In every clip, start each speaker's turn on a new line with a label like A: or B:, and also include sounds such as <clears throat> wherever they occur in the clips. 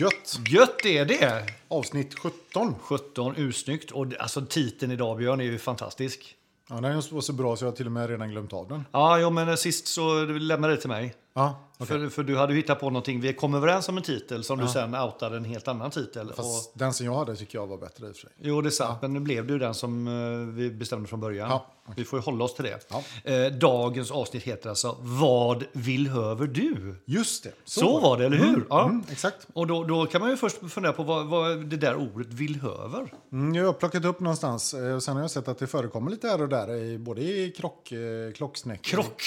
A: 70 är det.
B: Avsnitt 17.
A: 17, usnyggt. Och det- alltså titeln idag, Björn, är ju fantastisk.
B: Ja, den var så bra så jag har till och med redan glömt av den.
A: Ja, jo, men eh, sist så lämnade det till mig.
B: Ja, okej.
A: För, för du hade ju hittat på någonting. Vi kom överens om en titel som du sen outade en helt annan titel.
B: Fast
A: Och,
B: den som jag hade tycker jag var bättre i och för sig.
A: jo, det är sant. Men nu blev det ju den som eh, vi bestämde från början.
B: Ja,
A: Vi får ju hålla oss till det.
B: Ja.
A: Eh, dagens avsnitt heter alltså Vad vill höver du?
B: Just det.
A: Så, var det, eller hur? Ja.
B: Mm, exakt.
A: Och då, då kan man ju först fundera på vad, vad det där ordet villhöver.
B: Mm, jag har plockat upp någonstans. eh, Och sen har jag sett att det förekommer lite här och där, i, både i krock, eh, klocksnäck,
A: Krock.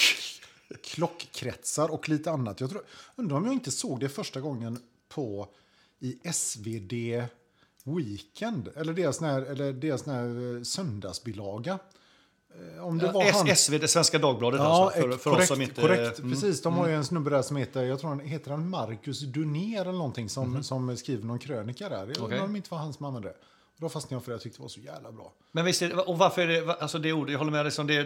B: klockkretsar och lite annat. Jag tror, undrar om jag inte såg det första gången på i SvD Weekend, eller deras, sån här, eller deras sån här eh, söndagsbilaga. Eh, Om det var han...
A: S- SVD, Svenska Dagbladet
B: Ja,
A: alltså. För, för
B: korrekt,
A: oss som inte... mm.
B: korrekt. Precis, de har ju en snubbe där som heter, jag tror han heter han Marcus Dunér eller någonting som, som skriver någon krönika där. Jag undrar
A: Mhm. Okej.
B: om det inte var han som använde det. Och Då fastnade jag för det, jag tyckte det var så jävla bra.
A: Men visst, är det- och varför är det, va- alltså det ordet, jag håller med dig, som det,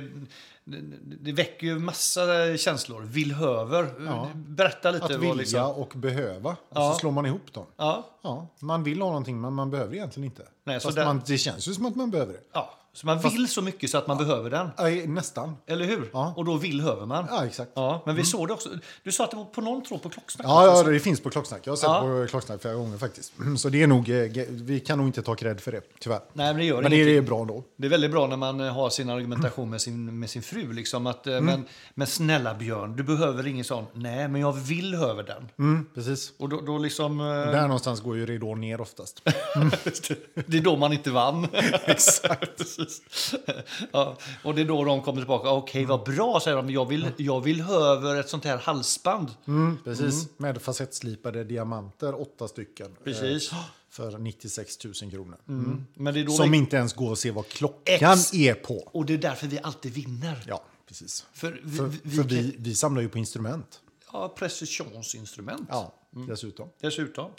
A: det, det väcker ju massa känslor. Villhöver.
B: Ja.
A: Berätta lite.
B: Att
A: vad
B: vilja
A: liksom-
B: och behöva, och
A: Ja.
B: så slår man ihop dem.
A: ja,
B: Ja, man vill ha någonting men man behöver egentligen inte.
A: Nej, så
B: Fast
A: där-
B: man, det känns ju som att man behöver det.
A: ja. Så man vill så mycket så att man behöver den.
B: Nej, nästan.
A: Eller hur?
B: Ja.
A: Och då villhöver man.
B: Ja, exakt. Ja,
A: Ja, men vi såg det också. Du sa att det var på någon tråd på klocksnack.
B: ja, det finns på Klocksnack. Jag har sett
A: Ja.
B: på Klocksnack flera gånger faktiskt. <clears throat> Så det är nog, eh, ge- vi kan nog inte ta cred för det, tyvärr.
A: Nej, men det gör
B: Men det
A: ingenting.
B: är bra ändå.
A: Det är väldigt bra när man eh, har sin argumentation med sin, med sin fru. Liksom att, eh,
B: Mm.
A: men, men snälla Björn, du behöver ingen sån. Nej, men jag vill höver den.
B: Mm, precis.
A: Och då, då liksom... eh,
B: Där någonstans går ju ridån ner oftast.
A: det är då man
B: <laughs>
A: inte vann. Exakt. ja, och det är då de kommer tillbaka. Okej, vad bra, säger de. Jag vill, jag vill höver ett sånt här halsband.
B: Mm. Precis. Med facettslipade diamanter, åtta stycken.
A: Mm. Precis. Mm.
B: Eh, för 96 000 kronor. Mm.
A: Men det är då
B: Som
A: vi,
B: inte ens går att se vad klockan
A: Ex.
B: är på.
A: och det är därför vi alltid vinner.
B: Ja, precis.
A: För vi,
B: För,
A: vi,
B: för
A: vi,
B: vi, vi samlar ju på instrument.
A: Ja, precisionsinstrument.
B: Ja, dessutom.
A: Dessutom.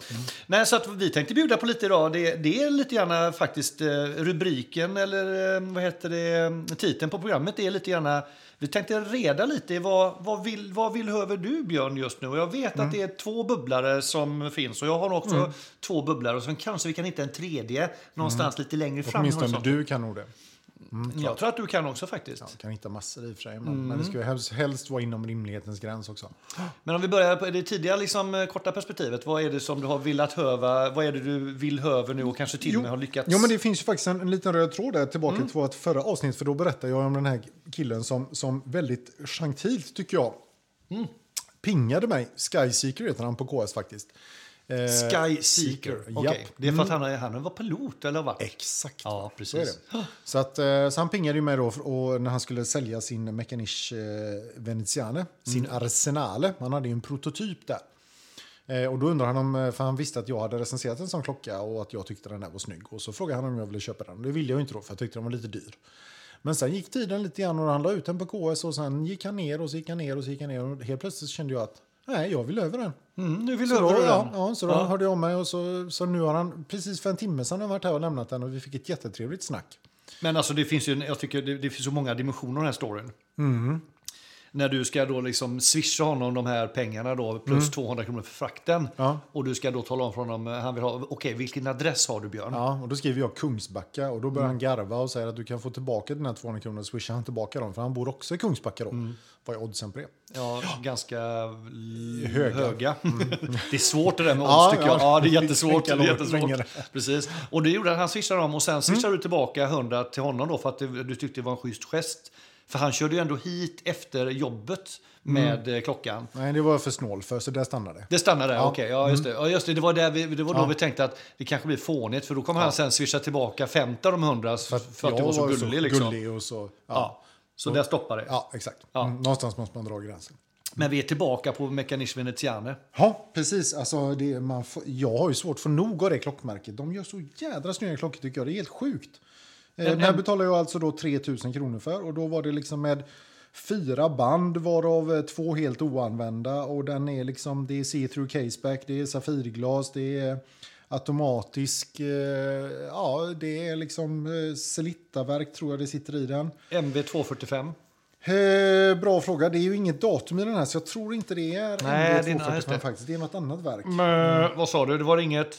A: Nej, så att vi tänkte bjuda på lite idag. Det, det är lite grann faktiskt eh, rubriken eller eh, vad heter det, eh, titeln på programmet. Det är lite grann, eh, vi tänkte reda lite i vad, vad, vill, vad vill höver du Björn just nu? Och jag vet
B: Mm.
A: att det är två bubblare som finns och jag har nog också två bubblare och sen kanske vi kan hitta en tredje någonstans lite längre fram.
B: Mm. Åtminstone
A: horisont.
B: du kan nog det.
A: jag tror att du kan också faktiskt.
B: Man kan hitta massor i och för sig. Men,
A: Mm.
B: men det ska ju helst, helst vara inom rimlighetens gräns också.
A: Men om vi börjar på det tidiga liksom, eh, korta perspektivet. Vad är det som du har velat höva? Vad är det du vill höva nu och kanske till och med har lyckats? Mm.
B: Jo, men det finns ju faktiskt en, en liten röd tråd där tillbaka till vårt förra avsnitt. För då berättade jag om den här killen som, som väldigt gentilt, tycker jag,
A: Mm.
B: pingade mig. Sky Seeker heter han på KS faktiskt. Eh,
A: Sky Seeker.
B: Seeker,
A: Okej.
B: japp. Mm.
A: Det är för att han, är- han var pilot eller vad?
B: Exakt.
A: Ja,
B: Så, är
A: precis.
B: det. Så, att, eh, så han pingade ju mig då för, och när han skulle sälja sin Mechaniche eh, Veneziane, sin
A: Mm.
B: Arsenale. Han hade ju en prototyp där. Eh, Och då undrade han om, eh, för han visste att jag hade recenserat en sån klocka och att jag tyckte den här var snygg. Och så frågade han om jag ville köpa den. Det ville jag ju inte då för jag tyckte den var lite dyr. Men sen gick tiden lite grann och han la ut den på KS och sen gick han ner och så gick han ner och så gick han ner. Och helt plötsligt kände jag att nej, jag vill över den.
A: Mm, nu vill
B: Så
A: du
B: då,
A: över
B: ja,
A: den.
B: ja, så då hörde jag om mig och så, så nu har han precis för en timme sedan har han varit här och lämnat den och vi fick ett jättetrevligt snack.
A: Men alltså det finns ju, en- jag tycker det, det finns så många dimensioner i den här storyn.
B: Mm.
A: När du ska då liksom swisha honom de här pengarna då, plus 200 kronor för frakten.
B: Mm. Ja.
A: Och du ska då tala om för honom, eh, han vill ha, okej vilken adress har du Björn?
B: Ja, och då skriver jag Kungsbacka och då börjar
A: Mm.
B: han garva och säger att du kan få tillbaka dina 200 kronor och swishar han tillbaka dem för han bor också i Kungsbacka då.
A: Mm.
B: Vad är oddsen på det?
A: Ja, ganska l-
B: Höga.
A: höga. <laughs> det är svårt det där med odds ja, tycker jag. Ja, <laughs> det är jättesvårt. Det
B: Tänka
A: är
B: långt, länge
A: jättesvårt.
B: där.
A: Precis. Och det gjorde att han swishade om och sen swishade du tillbaka 100 till honom då för att det, du tyckte det var en schysst gest. För han körde ju ändå hit efter jobbet med eh, klockan.
B: Nej, det var jag för snål för så där stannade det.
A: Det stannar där,
B: Ja.
A: okej. Ja, Mm. just det. Ja, just det. Det var, där vi, det var då vi tänkte att det kanske blir fånigt för då kommer han sen swisha tillbaka 50 av de 100 för, för att
B: jag
A: du var så gullig. liksom.
B: gullig och så... Ja,
A: Ja. Så där stoppar det.
B: ja exakt. Mm, Någonstans måste man dra gränsen.
A: Men vi är tillbaka på Mechanisch Veneziane.
B: Ja, precis. Alltså, det, man får, jag har ju svårt för nog av det klockmärket. De gör så jädra snygga klockor tycker jag. Det är helt sjukt. Eh, Den här betalar jag alltså då 3 000 kronor för och då var det liksom med fyra band varav eh, två helt oanvända och den är liksom det är see-through caseback, det är safirglas, det är automatisk, eh, ja det är liksom eh, selittaverk tror jag det sitter i den.
A: MV 245.
B: Eh, bra fråga. Det är ju inget datum i den här så jag tror inte det är
A: Nej, det är- nej,
B: 245
A: just det. Mm. Eh,
B: faktiskt. Det är något annat verk.
A: Vad sa du? Det var inget...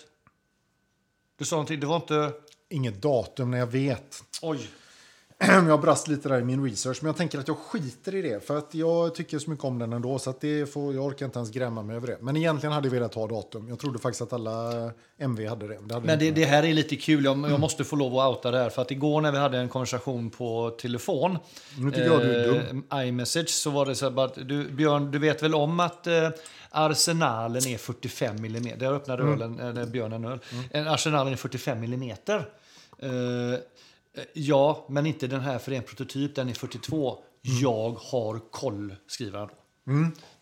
A: Du sa någonting, det var inte...
B: Inget datum när jag vet. <clears throat>
A: Oj.
B: Jag brast lite där i min research, men jag tänker att jag skiter i det. För att jag tycker så mycket om den ändå, så att det får, jag orkar inte ens grämma mig över det. Men egentligen hade jag velat ha datum. Jag trodde faktiskt att alla MV hade det. Men det, hade
A: Men
B: inte.
A: det, det här är lite kul, jag, jag måste få lov att outa det här. För att igår när vi hade en konversation på telefon,
B: Nu tycker jag du är dum.
A: eh, iMessage, så var det så här bara att du, Björn, du vet väl om att eh, Arsenalen är 45 mm. Där öppnade ölen, eller Björn en öl. Eh, Arsenalen är 45 mm. Eh, ja, men inte den här för det är en prototyp, den är 42. Jag har koll, skriver han då.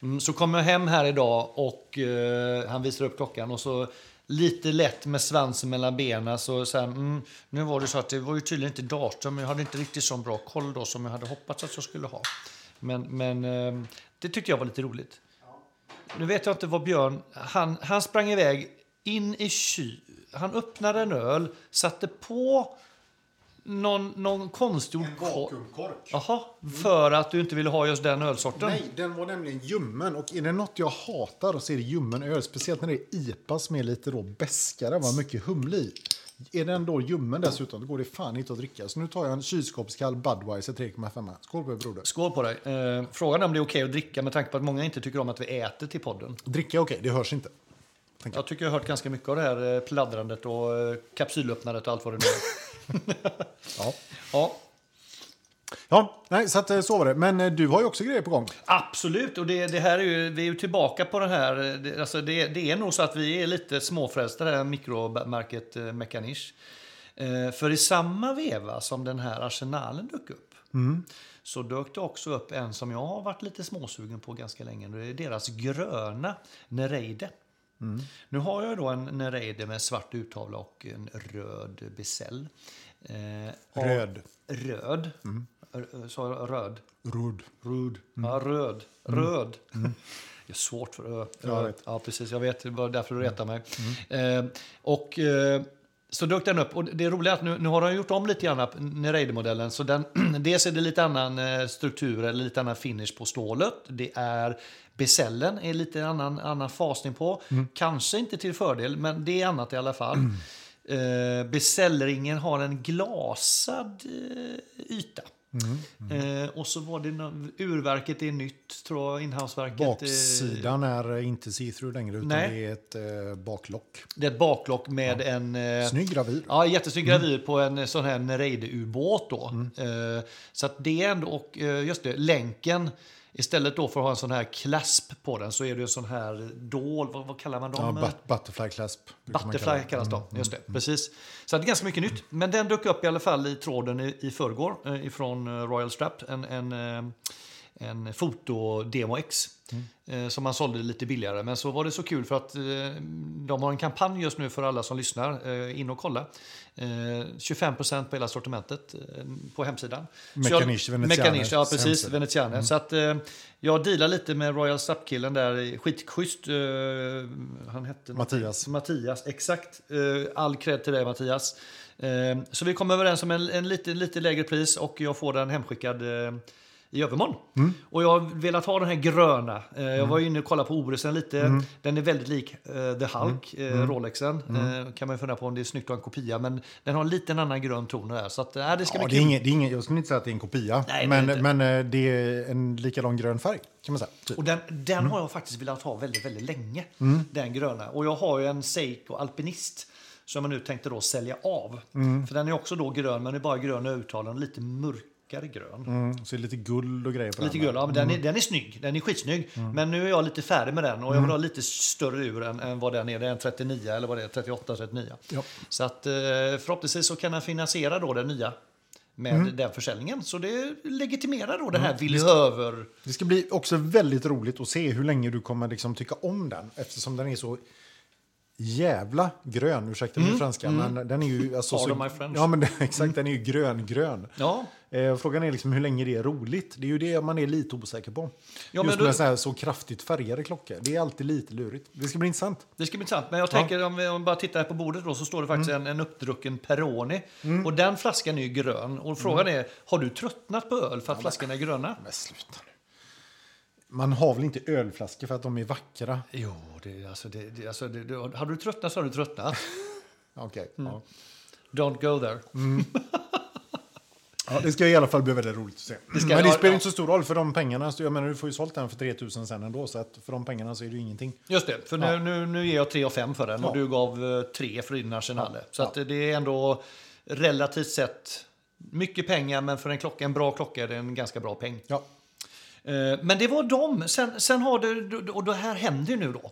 A: Mm, så kom jag hem här idag och eh, han visar upp klockan och så lite lätt med svansen mellan benen så, så här, mm, nu var det så att det var ju tydligen inte datum, men jag hade inte riktigt så bra koll då som jag hade hoppats att jag skulle ha. Men, men eh, det tyckte jag var lite roligt. Nu vet jag inte vad Björn, han, han sprang iväg in i ky, han öppnade en öl, satte på någon, någon konstgjord kork.
B: Vakuumkork.
A: Jaha, för att du inte ville ha just den ölsorten?
B: Nej, den var nämligen ljummen. Och är det något jag hatar så är det ljummen öl. Speciellt när det är IPA som är lite då beskare, var mycket humle i. Är den då ljummen dessutom, då går det fan inte att dricka. Så nu tar jag en kylskåpskall Budweiser 3,5. Skål på er broder.
A: Skål på dig. Eh, frågan är om det är okej att dricka med tanke på att många inte tycker om att vi äter till podden.
B: Dricka okej, det hörs inte.
A: Jag tycker jag har hört ganska mycket av det här eh, pladdrandet och eh, kapsylöppnandet och allt vad det nu är.
B: Ja,
A: ja,
B: ja nej, så, att, eh, så var det. Men eh, du har ju också grejer på gång.
A: absolut. Och det, det här är ju, vi är ju tillbaka på den här. eh, Det, alltså det, det är nog så att vi är lite småfrälsta, det här mikromärket eh, Mechanish. Eh, för i samma veva som den här arsenalen dök upp så dök det också upp en som jag har varit lite småsugen på ganska länge. Det är deras gröna Nereide. Nu har jag då en Nereide med svart uttavla och en röd besäll. Eh, och-
B: Röd.
A: Röd. R- Sa jag röd?
B: Rud.
A: Röd. Ja, röd. Röd. Det är svårt för ö.
B: Jag vet.
A: Ja, precis. Jag vet. Det var därför du retade mig. Eh, och eh, så dök den upp. Och det roliga är att nu, nu har de gjort om lite grann på Nereide-modellen. Så den, <clears throat> dels är det lite annan eh, struktur eller lite annan finish på stålet. Det är Besällen är lite annan, annan fasning på. Kanske inte till fördel, men det är annat i alla fall. Eh, besällringen har en glasad eh, yta. Eh, och så var det nå- urverket är nytt, tror jag, inhouseverket. eh,
B: Baksidan är eh, inte see-through längre, utan
A: Nej.
B: det är ett eh, baklock.
A: Det är ett baklock med en... eh,
B: Snygg gravyr.
A: Ja, jättesnygg gravyr på en sån här Nereide-ubåt. Då. Eh, så att det är ändå, och eh, just det, länken. Istället då för att ha en sån här clasp på den så är det en sån här dål, vad, vad kallar man
B: Ja,
A: dem?
B: but, butterfly clasp. brukar man kalla
A: eh, Butterfly
B: det. Mm.
A: kallas de. Just det, precis. Så det är ganska mycket nytt. Men den dök upp i alla fall i tråden i, i förrgår eh, ifrån eh, Royal Strap. En, en, eh, en fotodemo X.
B: Mm.
A: eh, Som man sålde lite billigare. Men så var det så kul för att eh, de har en kampanj just nu för alla som lyssnar. Eh, In och kolla. Eh, 25% på hela sortimentet eh, på hemsidan. Så jag-
B: Mechanisch, Venezianes
A: Mechanisch, ja precis.
B: hemsida. Mm.
A: Veneziane. Så att, eh, jag dealar lite med Royal Strap-killen där. Skitschysst. Eh, han hette
B: Mattias.
A: Mattias, exakt. Eh, All cred till dig Mattias. Eh, Så vi kom överens om en, en lite, lite lägre pris och jag får den hemskickad eh, i övermorgon.
B: Mm.
A: Och jag har velat ha den här gröna. Eh, Jag var ju inne och kollade på Oresen lite.
B: Mm.
A: Den är väldigt lik eh, The Hulk, eh, Rolexen.
B: Mm.
A: Eh, Kan man ju fundera på om det är snyggt att ha en kopia. Men den har en liten annan grön ton där. Så att, äh, det ska
B: Ja, det
A: bli
B: är
A: kul.
B: ingen, det är ingen, jag skulle inte säga att det är en kopia,
A: Nej, det
B: men,
A: är det
B: men eh, det är en likadan grön färg. kan man säga. Typ.
A: Och den, den har jag faktiskt velat ha väldigt, väldigt länge. Den gröna. Och jag har ju en Seiko Alpinist som jag nu tänkte då sälja av. För den är också då grön, men det är bara grön övertalande, lite mörkare grön.
B: Mm, så det är lite guld och grejer på
A: Lite
B: den.
A: gul, ja, men den, är, den är snygg, den är skitsnygg. Men nu är jag lite färdig med den och jag vill ha lite större ur än, än vad den är. Det är en 39 eller vad det är, 38, 39.
B: Ja.
A: Så att eh, förhoppningsvis så kan den finansiera då den nya med den försäljningen. Så det legitimerar då det här villhöver...
B: Det ska bli också väldigt roligt att se hur länge du kommer liksom tycka om den eftersom den är så jävla grön. Ursäkta min franska, men den är
A: <laughs>
B: ju... Alltså,
A: Mm, Pardon
B: så,
A: my French. Mm.
B: Ja, men <laughs> den- exakt. Den är ju grön-grön.
A: Ja,
B: Eh, frågan är liksom hur länge det är roligt. Det är ju det man är lite osäker på.
A: men
B: Just
A: du-
B: med så, här, så kraftigt färgade klockor. Det är alltid lite lurigt. Det ska bli intressant.
A: Det ska bli intressant. Men jag tänker om vi om vi bara tittar här på bordet då så står det faktiskt
B: Mm.
A: en, en uppdrucken Peroni. Och den flaskan är ju grön. Och frågan
B: Mm.
A: är, har du tröttnat på öl för att flaskan är gröna?
B: Men sluta nu. Man har väl inte ölflaskor för att de är vackra?
A: Jo, det, alltså, det, det, alltså, det, det, hade du tröttnat så har du tröttnat.
B: Okej. Ja.
A: <laughs> Don't go there.
B: Mm. Ja, det ska i alla fall bli väldigt roligt att se.
A: ska-
B: Men det
A: ja,
B: spelar
A: ja.
B: inte så stor roll för de pengarna. Så jag menar, du får ju sålt den för 3000 sen ändå. Så att för de pengarna så är det ju ingenting.
A: Just det, för nu, nu, nu ger jag 3 av 5 för den och
B: Ja.
A: du gav eh, 3 för din Arsenale. Så
B: Ja.
A: att det är ändå relativt sett mycket pengar, men för en, klocka, en bra klocka är det en ganska bra peng.
B: Ja.
A: Eh, Men det var dem. Sen, sen har det, och det här händer ju nu då.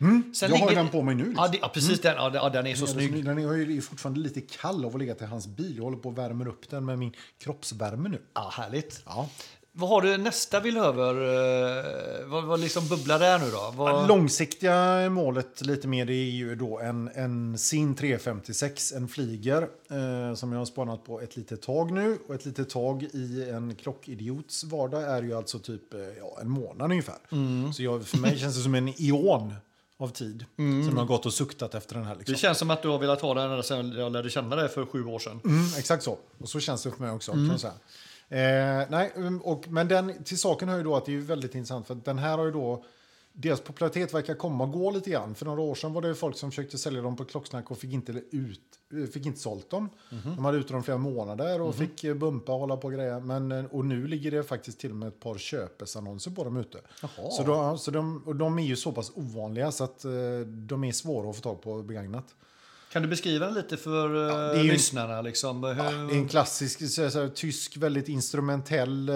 A: Sen
B: Mm. jag har
A: ligger-
B: den på mig nu. Liksom.
A: Ja, det, ja precis. Den, ja, det- ja, den är så
B: Den är
A: snygg.
B: Den är ju fortfarande lite kall av att ligga till hans bil. Jag håller på och värmer upp den med min kroppsvärme nu.
A: Ja, härligt.
B: Ja.
A: Vad har du nästa vill över? eh, Vad, vad liksom bubblar där nu då? Vad,
B: Långsiktiga målet lite mer det är ju då en, en sin 356, en Fliger eh, som jag har spanat på ett litet tag nu. Och ett litet tag i en klockidiots vardag är ju alltså typ eh, ja, en månad ungefär. Så jag, för mig känns det som en ion av tid som jag har gått och suktat efter den här. Liksom.
A: det känns som att du har velat ha den ända sedan jag lärde känna dig för sju år sedan.
B: Mm, exakt så. Och så känns det för mig också. Kan jag säga. Eh, nej, mm, och, men den, till saken hör ju då att det är ju väldigt intressant för att den här har ju då deras popularitet verkar komma och gå lite grann. För några år sedan var det ju folk som försökte sälja dem på klocksnack och fick inte, ut, eh, fick inte sålt dem. De hade ute dem flera månader och fick eh, bumpa och hålla på och grejer. Men, eh, och nu ligger det faktiskt till och med ett par köpesannonser på dem ute.
A: Jaha.
B: Så, då, så de, och de är ju så pass ovanliga så att eh, de är svåra att få tag på begagnat.
A: Kan du beskriva den lite för eh,
B: Ja, det är ju-
A: lyssnarna? Liksom? Hur,
B: Det är en klassisk så, så, tysk, väldigt instrumentell eh,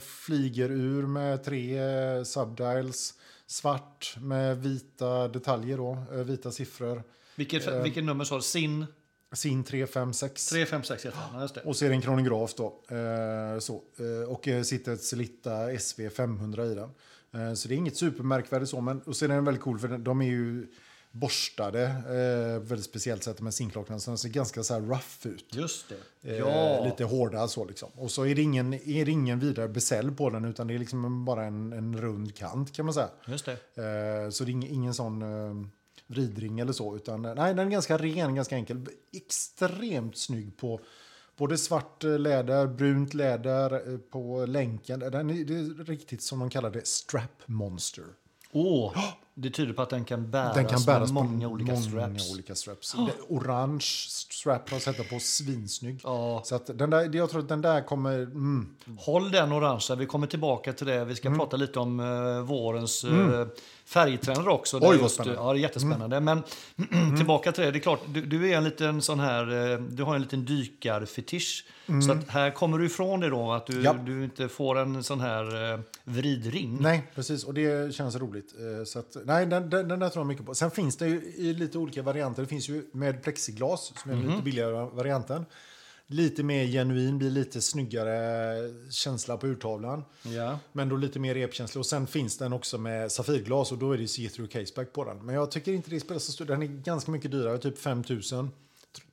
B: flygerur med tre eh, subdials. Svart med vita detaljer, då, eh, vita siffror.
A: vilket,
B: eh,
A: vilket nummer sa du? Sin
B: Sin 356.
A: 356 heter den. Ja, Just det.
B: Och så är det en kronograf då. Eh, så. Eh, och eh, sitter ett Selitta SV 500 i den. Eh, så det är inget supermärkvärdigt så. Men, och sen är den väldigt cool för den, de är ju borstade. Eh, väldigt speciellt sätt med zinklockan. Så de ser ganska så här rough ut.
A: Just det.
B: Eh,
A: Ja.
B: Lite hårda så liksom. Och så är det ingen, är det ingen vidare besäll på den utan det är liksom en- bara en, en rund kant kan man säga.
A: Just det.
B: Eh, så det är ingen, ingen sån eh, vridring eller så. Utan, eh, nej, den är ganska ren, ganska enkel. Extremt snygg på både svart eh, läder, brunt läder eh, på länken. Den är, det är riktigt som de kallar det, strap monster.
A: Åh, det tyder på att den kan bäras,
B: Den kan bäras
A: med många
B: på
A: olika
B: många
A: straps. Ah.
B: olika straps. Det- Orange strap har sett på svinsnygg.
A: Ja.
B: Så att den där, jag tror att den där kommer... Mm,
A: Håll den orangea, vi kommer tillbaka till det. Vi ska prata lite om eh, vårens uh, färgtrender också. Det är
B: Mm. vad
A: just,
B: spännande. Mm.
A: Ja, det är jättespännande. Men <clears throat> tillbaka till det, det är klart, du, du är en liten sån här, eh, du har en liten dykarfetisch. Så att här kommer du ifrån det då, att du,
B: Mm. Ja.
A: du inte får en sån här eh, vridring.
B: nej, precis. Och det känns roligt. Eh, Så att, nej, den, den, den där tror jag mycket på. Sen finns det ju i lite olika varianter. Det finns ju med plexiglas, som
A: Mhm.
B: är den lite billigare varianten. Lite mer genuin, blir lite snyggare känsla på urtavlan.
A: Ja.
B: Men då lite mer repkänsla. Och sen finns den också med safirglas och då är det see-through caseback på den. Men jag tycker inte det spelar så stor Den är ganska mycket dyrare, typ 5000.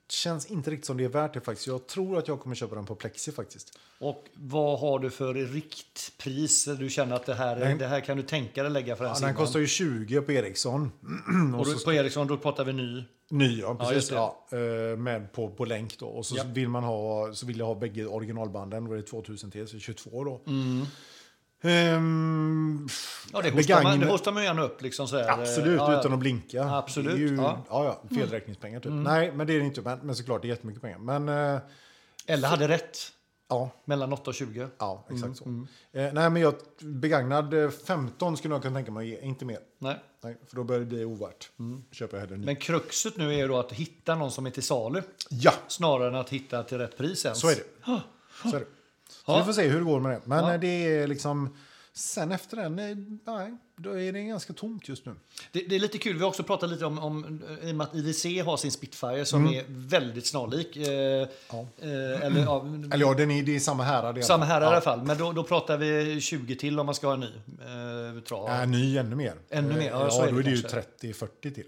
B: Känns inte riktigt som det är värt det faktiskt. Jag tror att jag kommer köpa den på plexi faktiskt.
A: Och vad har du för riktpris? Du känner att det här,
B: Nej.
A: det här kan du tänka dig lägga för en
B: Ja, den
A: simman.
B: kostar ju 20 på Ericsson.
A: <clears throat> Och du, på Ericsson, då pratar vi ny.
B: Ny, ja,
A: just
B: precis.
A: det.
B: Ja, eh, med på, på länk då. Och så
A: Ja.
B: vill man ha, så vill jag ha bägge originalbanden. Då är det 2000 till, så 22 då. Ehm,
A: Mm. Ja, det hostar,
B: Begagnad-
A: man, det hostar man ju gärna upp. Liksom, så här.
B: Absolut,
A: Ja, ja.
B: utan att blinka.
A: Absolut,
B: Det är ju,
A: ja. Mm.
B: ja. Ja, felräkningspengar typ. Nej, men det är det inte. Men, men såklart, det är jättemycket pengar. Men eh,
A: Eller hade rätt.
B: ja,
A: Mellan 8 och 20.
B: ja exakt
A: Mm,
B: så. Eh, nej, men jag begagnad eh, 15 skulle jag kunna tänka mig att ge, inte mer.
A: Nej.
B: Nej, för då börjar det bli ovärt. Köper jag hellre en ny.
A: Mm. Men kruxet nu är ju då att hitta någon som är till salu
B: Ja,
A: snarare än att hitta till rätt pris ens.
B: så är det. Så, är det. så
A: Ja.
B: vi får se hur det går med det. Men
A: Ja.
B: eh, det är liksom... Sen efter den, eh, nej, då är det ganska tomt just nu.
A: det. Det är lite kul, vi har också pratat lite om, om eh, i och med att IWC har sin Spitfire som
B: Mm.
A: är väldigt snarlik. Eh, eh, eller, ja,
B: Eller ja, den är, det är samma härad. i alla
A: samma
B: fall.
A: här i alla fall, men då, då pratar vi 20 till om man ska ha en ny eh, trav.
B: Ja. Äh, ny ännu mer.
A: Ännu mer,
B: Eh,
A: ja,
B: Ja,
A: så är det
B: då är det ju
A: kanske.
B: 30-40 till.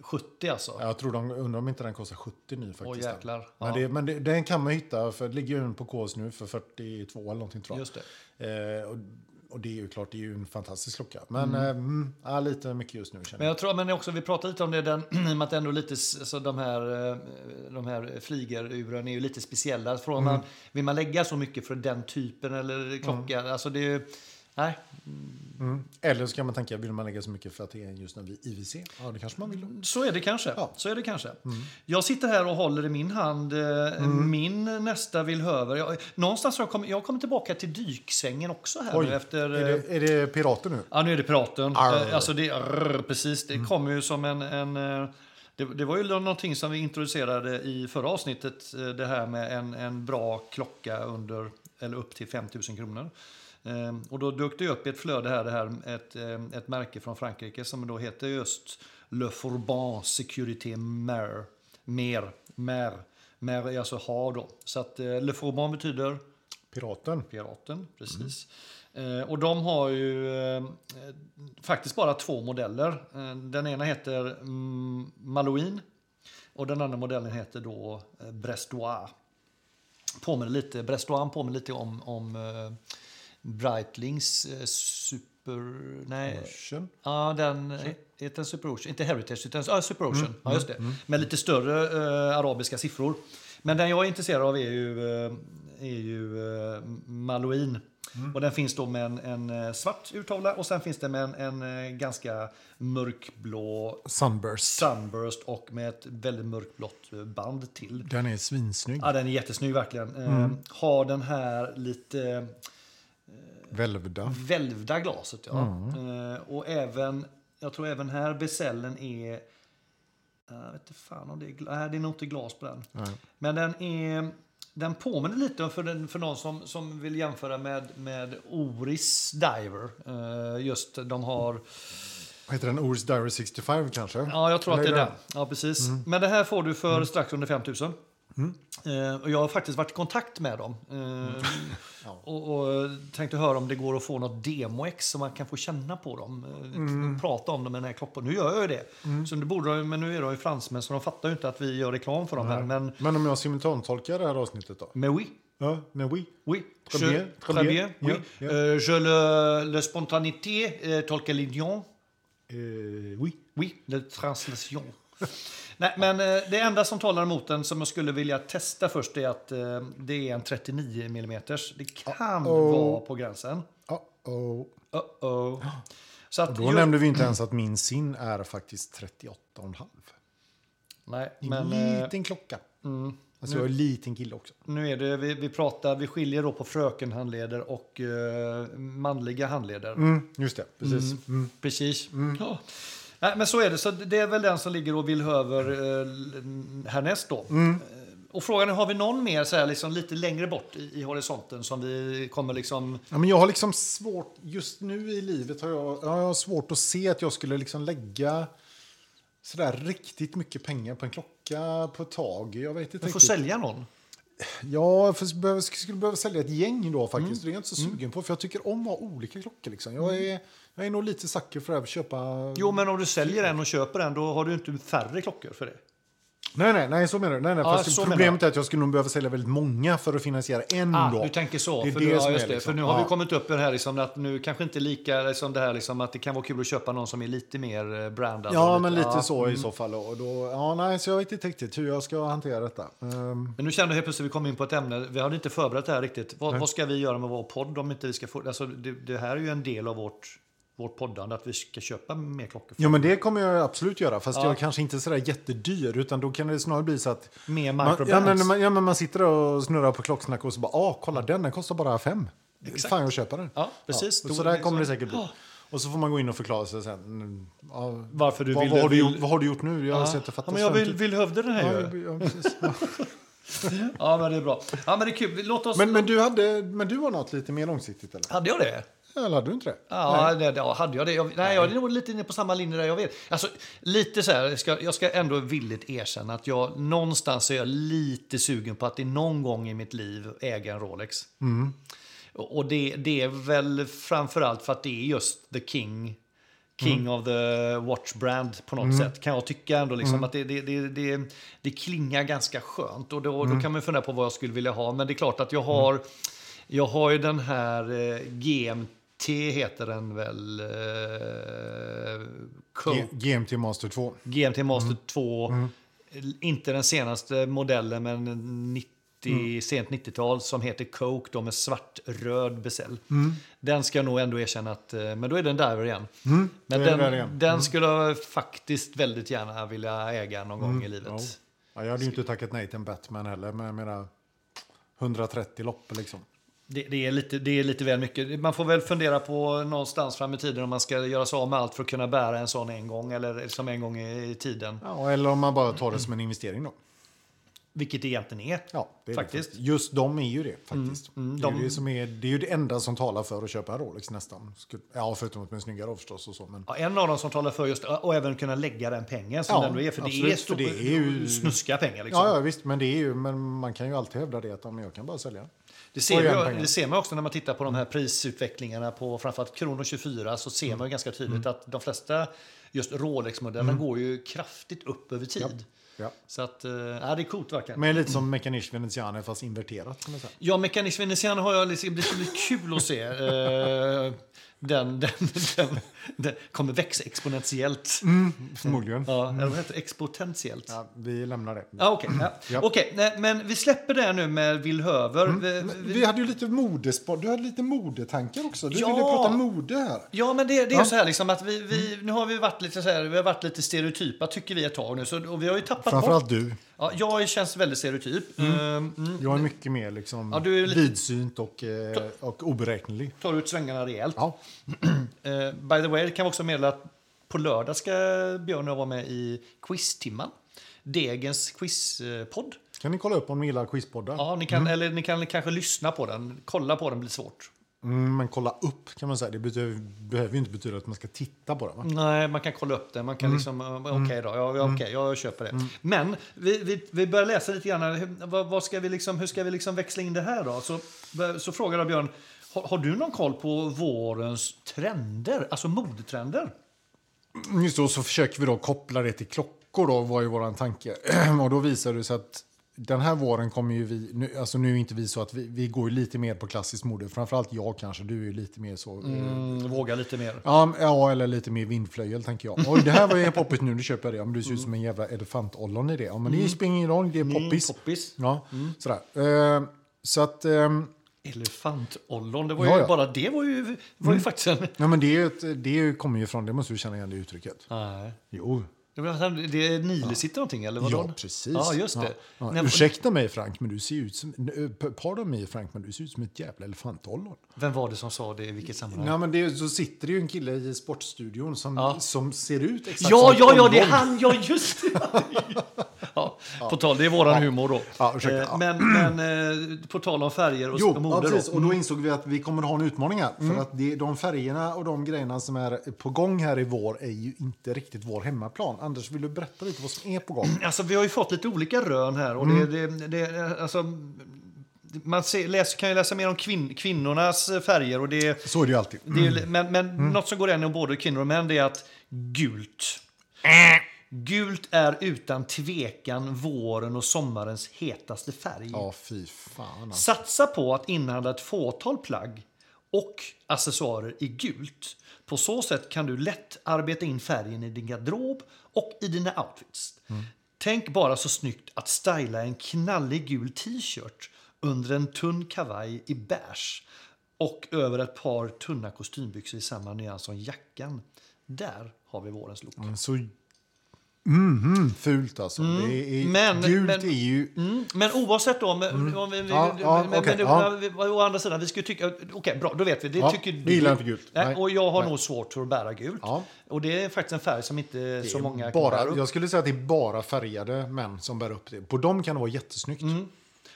A: 70 alltså.
B: Ja, Jag tror de, undrar om inte den kostar 70 nu faktiskt.
A: Åh, jäklar.
B: Men,
A: Ja.
B: det, men det, den kan man hitta, för det ligger ju en på KS nu för 42 eller någonting tror jag.
A: Just det.
B: Eh, och, och det är ju klart, det är ju en fantastisk klocka. Men eh, mm. ja, lite mycket just nu känner
A: Men
B: jag.
A: jag tror, men också, vi pratade lite om det, den, <clears throat> i och med att ändå lite, s- så de här, eh, de här flygeruren är ju lite Mm. Mm. speciella. Frågar man, vill man lägga så mycket för den typen eller klocka? Alltså det är ju, Nej.
B: Mm. Eller så kan man tänka, vill man lägga så mycket för att det är just när vi IVC? Ja, det kanske man vill.
A: Så är det kanske.
B: Ja.
A: Så är det kanske. Jag sitter här och håller i min hand eh, min nästa villhöver. Jag, någonstans har jag kommit, jag kommer tillbaka till dyksängen också här nu efter...
B: är,
A: eh,
B: det, är det pirater nu?
A: Ja, nu är det piraten.
B: Arr.
A: Eh, Alltså det, arr, precis, det kommer ju som en... en eh, det, det var ju någonting som vi introducerade i förra avsnittet, eh, det här med en, en bra klocka under, eller upp till 5 000 kronor. Eh, Och då dök det upp i ett flöde här, det här ett, eh, ett märke från Frankrike som då heter just Le Fourban Sécurité Mer. Mer. Mer. Mer är alltså har då. Så att eh, Le Fourban betyder?
B: Piraten?
A: Piraten, precis. Eh, och de har ju eh, eh, faktiskt bara två modeller. Eh, den ena heter mm, Malouine och den andra modellen heter då eh, Brestois. Påminner lite, Brestois påminner lite om, om eh, Breitlings eh, Super... Nej,
B: Russian?
A: Ja, den heter den Super Ocean. Inte Heritage, utan ja, Super Ocean. Ja, just det. Med lite större eh, arabiska siffror. Men den jag är intresserad av är ju, eh, är ju eh, Malouine. Och den finns då med en, en eh, svart urtavla och sen finns det med en, en eh, ganska mörkblå
B: Sunburst.
A: sunburst och med ett väldigt mörkblått eh, band till.
B: Den är svinsnygg.
A: Ja, den är jättesnygg verkligen. Eh, Har den här lite
B: Välvda.
A: välvda glaset. Ja. Eh, och även, jag tror även här besällen är... eh, Jag vet inte fan om det är glas. Nej, det är nog inte glas på den.
B: Nej.
A: Men den är... Den påminner lite om- för, den, för någon som, som vill jämföra med, med Oris Diver. Eh, just de har...
B: Heter den Oris Diary 65 kanske?
A: Ja, jag tror att det
B: Eller Mm.
A: är den. Ja, precis. Men det här får du för strax under 5 000. Eh, och jag har faktiskt varit i kontakt med dem. Eh,
B: Ja.
A: <laughs> och, och eh, tänkte höra om det går att få något demoex så man kan få känna på dem. Eh,
B: Mm.
A: Prata om dem med den här klockan. Nu gör jag ju det. Så nu borde de, men nu är de ju fransmän så de fattar ju inte att vi gör reklam för dem här. Men
B: Men om jag simultantolkar det här avsnittet då?
A: mais oui.
B: Ja, men oui.
A: Oui,
B: Très
A: je,
B: bien, très
A: très
B: bien.
A: bien, oui.
B: Ja, ja.
A: Euh, je le, le spontanéité, euh, tel que l'ignon.
B: Eh, oui.
A: Oui, le translation. Nej, men eh, det enda som talar emot den som jag skulle vilja testa först är att eh, det är en 39 mm. Det kan
B: Uh-oh.
A: vara på gränsen.
B: Uh-oh.
A: Uh-oh. Så att
B: Då
A: ju-
B: nämnde vi inte ens att min sin är faktiskt 38,5.
A: Nej,
B: En
A: men eh,
B: liten klocka. Alltså jag är en liten kille också.
A: nu är det, vi, vi pratar, vi skiljer då på frökenhandleder och eh, manliga handleder.
B: Mm, just det, precis. Mm.
A: Precis. Ja. Nej, men så är det. Så det är väl den som ligger och vill över eh, härnäst då.
B: Mm.
A: Eh, Och frågan är, har vi någon mer så här, liksom, lite längre bort i, i horisonten som vi kommer liksom...
B: Ja, men jag har liksom svårt, just nu i livet har jag, ja, jag har svårt att se att jag skulle liksom lägga sådär riktigt mycket pengar på en klocka på ett tag. Jag vet inte
A: Vi får
B: riktigt.
A: sälja någon.
B: Ja, jag får- behöver- skulle behöva sälja ett gäng då faktiskt.
A: Mm.
B: Det är jag inte så sugen på, för jag tycker om att ha olika klockor. Liksom. Jag, är, jag är nog lite sucker för att köpa...
A: Jo, men om du säljer en och köper en, då har du inte färre klockor för det.
B: Nej, nej, nej, så menar du. Nej, nej,
A: Ja,
B: fast
A: så menar
B: problemet är att jag skulle nog behöva sälja väldigt många för att finansiera en
A: Ah,
B: då.
A: du tänker så.
B: Mm. Det är
A: för,
B: det
A: nu,
B: som
A: ja,
B: är
A: just det.
B: liksom.
A: för nu har
B: Ja.
A: vi kommit upp i det här liksom, att nu kanske inte lika liksom, det här liksom, att det kan vara kul att köpa någon som är lite mer eh, brandad.
B: Ja,
A: och
B: men lite
A: ja. Mm.
B: så i så fall. Och då, ja, nej, så jag vet inte riktigt hur jag ska hantera detta. Ehm,
A: Men nu kände jag helt plötsligt att vi kom in på ett ämne. Vi hade inte förberett det här riktigt. Vad, vad ska vi göra med vår podd om inte vi ska få... Alltså, det, det här är ju en del av vårt, vårt poddande, att vi ska köpa mer klockor.
B: Jo, men det kommer jag absolut göra. Fast
A: Ja.
B: jag kanske inte är sådär jättedyr, utan då kan det snarare bli så att...
A: Mer
B: Man, ja, men,
A: microbrands.
B: man, ja, men man sitter och snurrar på klocksnack och så bara, ah, kolla den, den kostar bara fem. Exakt. Fan, jag köper den.
A: Ja, precis.
B: och
A: Då
B: så
A: är det
B: där kommer det
A: liksom-
B: säkert bli. Och så får man gå in och förklara sig sen. Mm, Ja,
A: Varför du
B: vad,
A: ville-
B: vad, har du
A: vill-
B: gjort, vad har du gjort nu? Jag har
A: Ja.
B: sett det
A: ja,
B: fattas
A: men jag
B: fem
A: vill,
B: tu-
A: vill hövda den
B: Ja,
A: här ju.
B: jag- ja, precis. Ja.
A: Ja, men det är bra. Ja, men det är kul. Låt oss...
B: men, men, du hade, men du har något lite mer långsiktigt, eller?
A: Hade jag det?
B: Eller hade du inte det?
A: Ja, det, ja, hade jag det? Jag, nej, jag är nog lite inne på samma linje där jag vet. Alltså, lite så här, jag ska, jag ska ändå villigt erkänna att jag någonstans är jag lite sugen på att i någon gång i mitt liv äga en Rolex. Och och det, det är väl framförallt för att det är just the king. King of the watch brand på något sätt kan jag tycka ändå liksom att det, det, det, det, det klingar ganska skönt och då, då kan man ju fundera på vad jag skulle vilja ha. Men det är klart att jag har, jag har ju den här eh, GMT heter den väl? Eh, Coke.
B: G- GMT Master 2. Mm.
A: GMT Master 2. eh, Inte den senaste modellen, men
B: Mm.
A: sent 90-tal som heter Coke då med svart-röd bezel.
B: Mm.
A: Den ska jag nog ändå erkänna att, eh, men då är det en diver igen. men
B: det Mm. är
A: den,
B: det där igen. Mm.
A: den skulle jag faktiskt väldigt gärna vilja äga någon gång i livet.
B: Mm. Ja. Ja, jag hade ju inte tackat nej till en Batman heller, men jag menar 130 lopp liksom.
A: Det, det, är lite, det är lite väl mycket. Man får väl fundera på någonstans fram i tiden om man ska göra sig av med allt för att kunna bära en sån en gång eller som en gång i i tiden.
B: Ja, eller om man bara tar det som en investering då.
A: Vilket det egentligen är.
B: Ja, det är
A: Faktiskt.
B: Det. Just de är ju det faktiskt. det, är
A: de-
B: ju det, som är, det är ju det enda som talar för att köpa en Rolex nästan. Skulle- Ja, förutom att de är snyggare förstås och så. Men
A: Ja, en av dem som talar för just och även kunna lägga den pengen som
B: Ja,
A: den ändå är. För det är,
B: absolut, för
A: stor,
B: det är ju-
A: snuska pengar. Liksom.
B: Ja, ja, visst. Men, det är ju, men man kan ju alltid hävda det att ja, men jag kan bara sälja.
A: Det,
B: Och
A: ser
B: igen
A: ju,
B: pengar.
A: det ser man också när man tittar på de här prisutvecklingarna på framförallt Kronor 24 så ser man ju ganska tydligt
B: Mm.
A: att de flesta just Rolex-modellerna går ju kraftigt upp över tid.
B: Ja.
A: Så att, eh, ja, det är coolt verkligen.
B: Men lite som Mechanisch Veneziane fast inverterat. Kan man säga.
A: Ja, Mekanisk Venezian har jag liksom, det ska bli kul att se. Eh, den, den, den, den kommer växa exponentiellt.
B: Mm. Förmodligen. Ja.
A: Ja, eller vad heter det? Exponentiellt. Ja.
B: vi lämnar det.
A: Ah, Okej, ja.
B: Ja. Mm.
A: Okej, nej, men vi släpper det här nu med Villhöver. Vi, vi,
B: Vi hade ju lite modespår. Du hade lite modetankar också. Du
A: Ja.
B: ville prata mode här.
A: Ja, men det, det är ju så här liksom att vi, vi,
B: Mm.
A: nu har vi varit lite så här, vi har varit lite stereotypa tycker vi ett tag nu. Så, och vi har ju tappat bort.
B: Framförallt du.
A: Ja, jag känns väldigt stereotyp. Ehm, mm.
B: Jag är mycket mer liksom
A: Ja, du är lite-
B: vidsynt och, eh, och oberäknelig.
A: Tar ut svängarna rejält.
B: Ja.
A: Eh, by the way, kan vi också meddela att på lördag ska Björn och jag vara med i Quiztimman. Degens quizpodd.
B: Kan ni kolla upp om ni gillar quizpoddar?
A: Ja, ni kan, Eller ni kan kanske lyssna på den. Kolla på den blir svårt.
B: Mm, men kolla upp kan man säga. Det betyder, behöver ju inte betyda att man ska titta på det. Va?
A: Nej, man kan kolla upp den. Man kan liksom, eh, okej då, ja, ja, okej, jag köper det. Men vi, vi, vi börjar läsa lite grann. här. Hur, vad, vad ska vi liksom, hur ska vi liksom växla in det här då? Så, så frågar jag Björn, har, har du någon koll på vårens trender? Alltså modetrender?
B: Mm, Just då så försöker vi då koppla det till klockor då, var ju våran tanke. <clears throat> och då visar det sig att den här våren kommer ju vi, nu, alltså nu är inte vi så att vi, vi går ju lite mer på klassiskt mode. Framförallt jag kanske, du är ju lite mer så. eh,
A: Mm, våga lite mer.
B: Ja, men- ja, eller lite mer vindflöjel tänker jag. Oj, det här var ju poppis nu, nu köper jag det. Ja, men du ser ut som en jävla elefantollon i det. Ja, men det spelar ingen roll, det är Mm, poppis.
A: Mm. Poppis. Mm.
B: Ja, sådär. Eh, så att... ehm,
A: Elefantollon, det var
B: Ja,
A: ju
B: ja.
A: bara det var ju, var ju faktiskt en...
B: Ja, men det, är ju ett, det kommer ju från, det måste du känna igen det uttrycket.
A: Nej.
B: Jo.
A: Det var- alltså, Det är nilesitter någonting eller vadå?
B: Ja, precis.
A: Ja, just det.
B: Ja, ja.
A: Nej,
B: Ursäkta mig Frank, men du ser ut som... n- eh, p- Pardon mig Frank, men du ser ut som ett jävla elefantollon.
A: Vem var det som sa det i vilket sammanhang?
B: Nej, men det, är- så sitter det ju en kille i sportstudion som,
A: Ja.
B: som ser ut exakt
A: Ja,
B: som ett
A: ja, ja, det är
B: ollon.
A: han! Ja, just
B: <laughs>
A: det! Ja, på tal, det är våran humor då.
B: Ja, ursäkta,
A: Eh,
B: ja.
A: Men, men eh, på tal om färger och, och
B: Jo, ja,
A: mode
B: precis.
A: då. Mm.
B: Och då insåg vi att vi kommer ha en utmaning här. För att det, de färgerna och de grejerna som är på gång här i vår är ju inte riktigt vår hemmaplan. Anders, vill du berätta lite vad som är på gång?
A: Alltså, vi har ju fått lite olika rön här. Och det,
B: Mm.
A: det, det, alltså, man ser, läser, kan ju läsa mer om kvin, kvinnornas färger. Och det,
B: Så är det ju alltid.
A: det är, ju- Men, men
B: Mm.
A: något som går igen om både kvinnor och män det är att gult.
B: Äh.
A: Gult är utan tvekan våren och sommarens hetaste färg.
B: Ja, fy fan. Alltså.
A: Satsa på att inhandla ett fåtal plagg och accessoarer i gult. På så sätt kan du lätt arbeta in färgen i din garderob och i dina outfits. Tänk bara så snyggt att styla en knallig gul t-shirt under en tunn kavaj i beige och över ett par tunna kostymbyxor i samma nyans som jackan. Där har vi vårens look.
B: Så... Mhm, fult alltså. Det är,
A: Mm. men-
B: gult
A: men-
B: är ju...
A: Mm, men oavsett då, om, om vi,
B: Mm. Ja,
A: vi-
B: ja,
A: men,
B: okej,
A: men,
B: ja.
A: vi- å andra sidan, vi skulle tycka, okej bra, då vet vi, det
B: Ja,
A: tycker
B: vi
A: du.
B: gillar inte gult.
A: Nej,
B: Nej.
A: och jag har nog svårt för att bära gult.
B: Ja.
A: Och det är faktiskt en färg som inte så många kan bära
B: Bara,
A: upp.
B: jag skulle säga att det är bara färgade män som bär upp det. På dem kan det vara jättesnyggt.
A: Mm.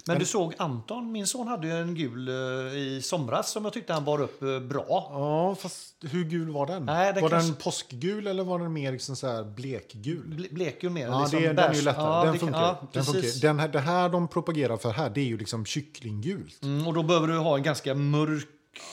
A: Men du såg Anton, min son hade ju en gul eh, i somras som jag tyckte han bar upp eh, bra.
B: Ja, fast hur gul var den?
A: Nej, den
B: var
A: kanske-
B: den påskgul eller var den mer liksom så här blekgul?
A: Ble- Blekgul mer.
B: Ja,
A: liksom
B: det, den är ju
A: beige.
B: lättare.
A: Ja, det
B: den
A: kan-
B: funkar.
A: ja,
B: den
A: precis.
B: funkar. Den här, det här de propagerar för här, det är ju liksom kycklinggult.
A: Mm, och då behöver du ha en ganska mörk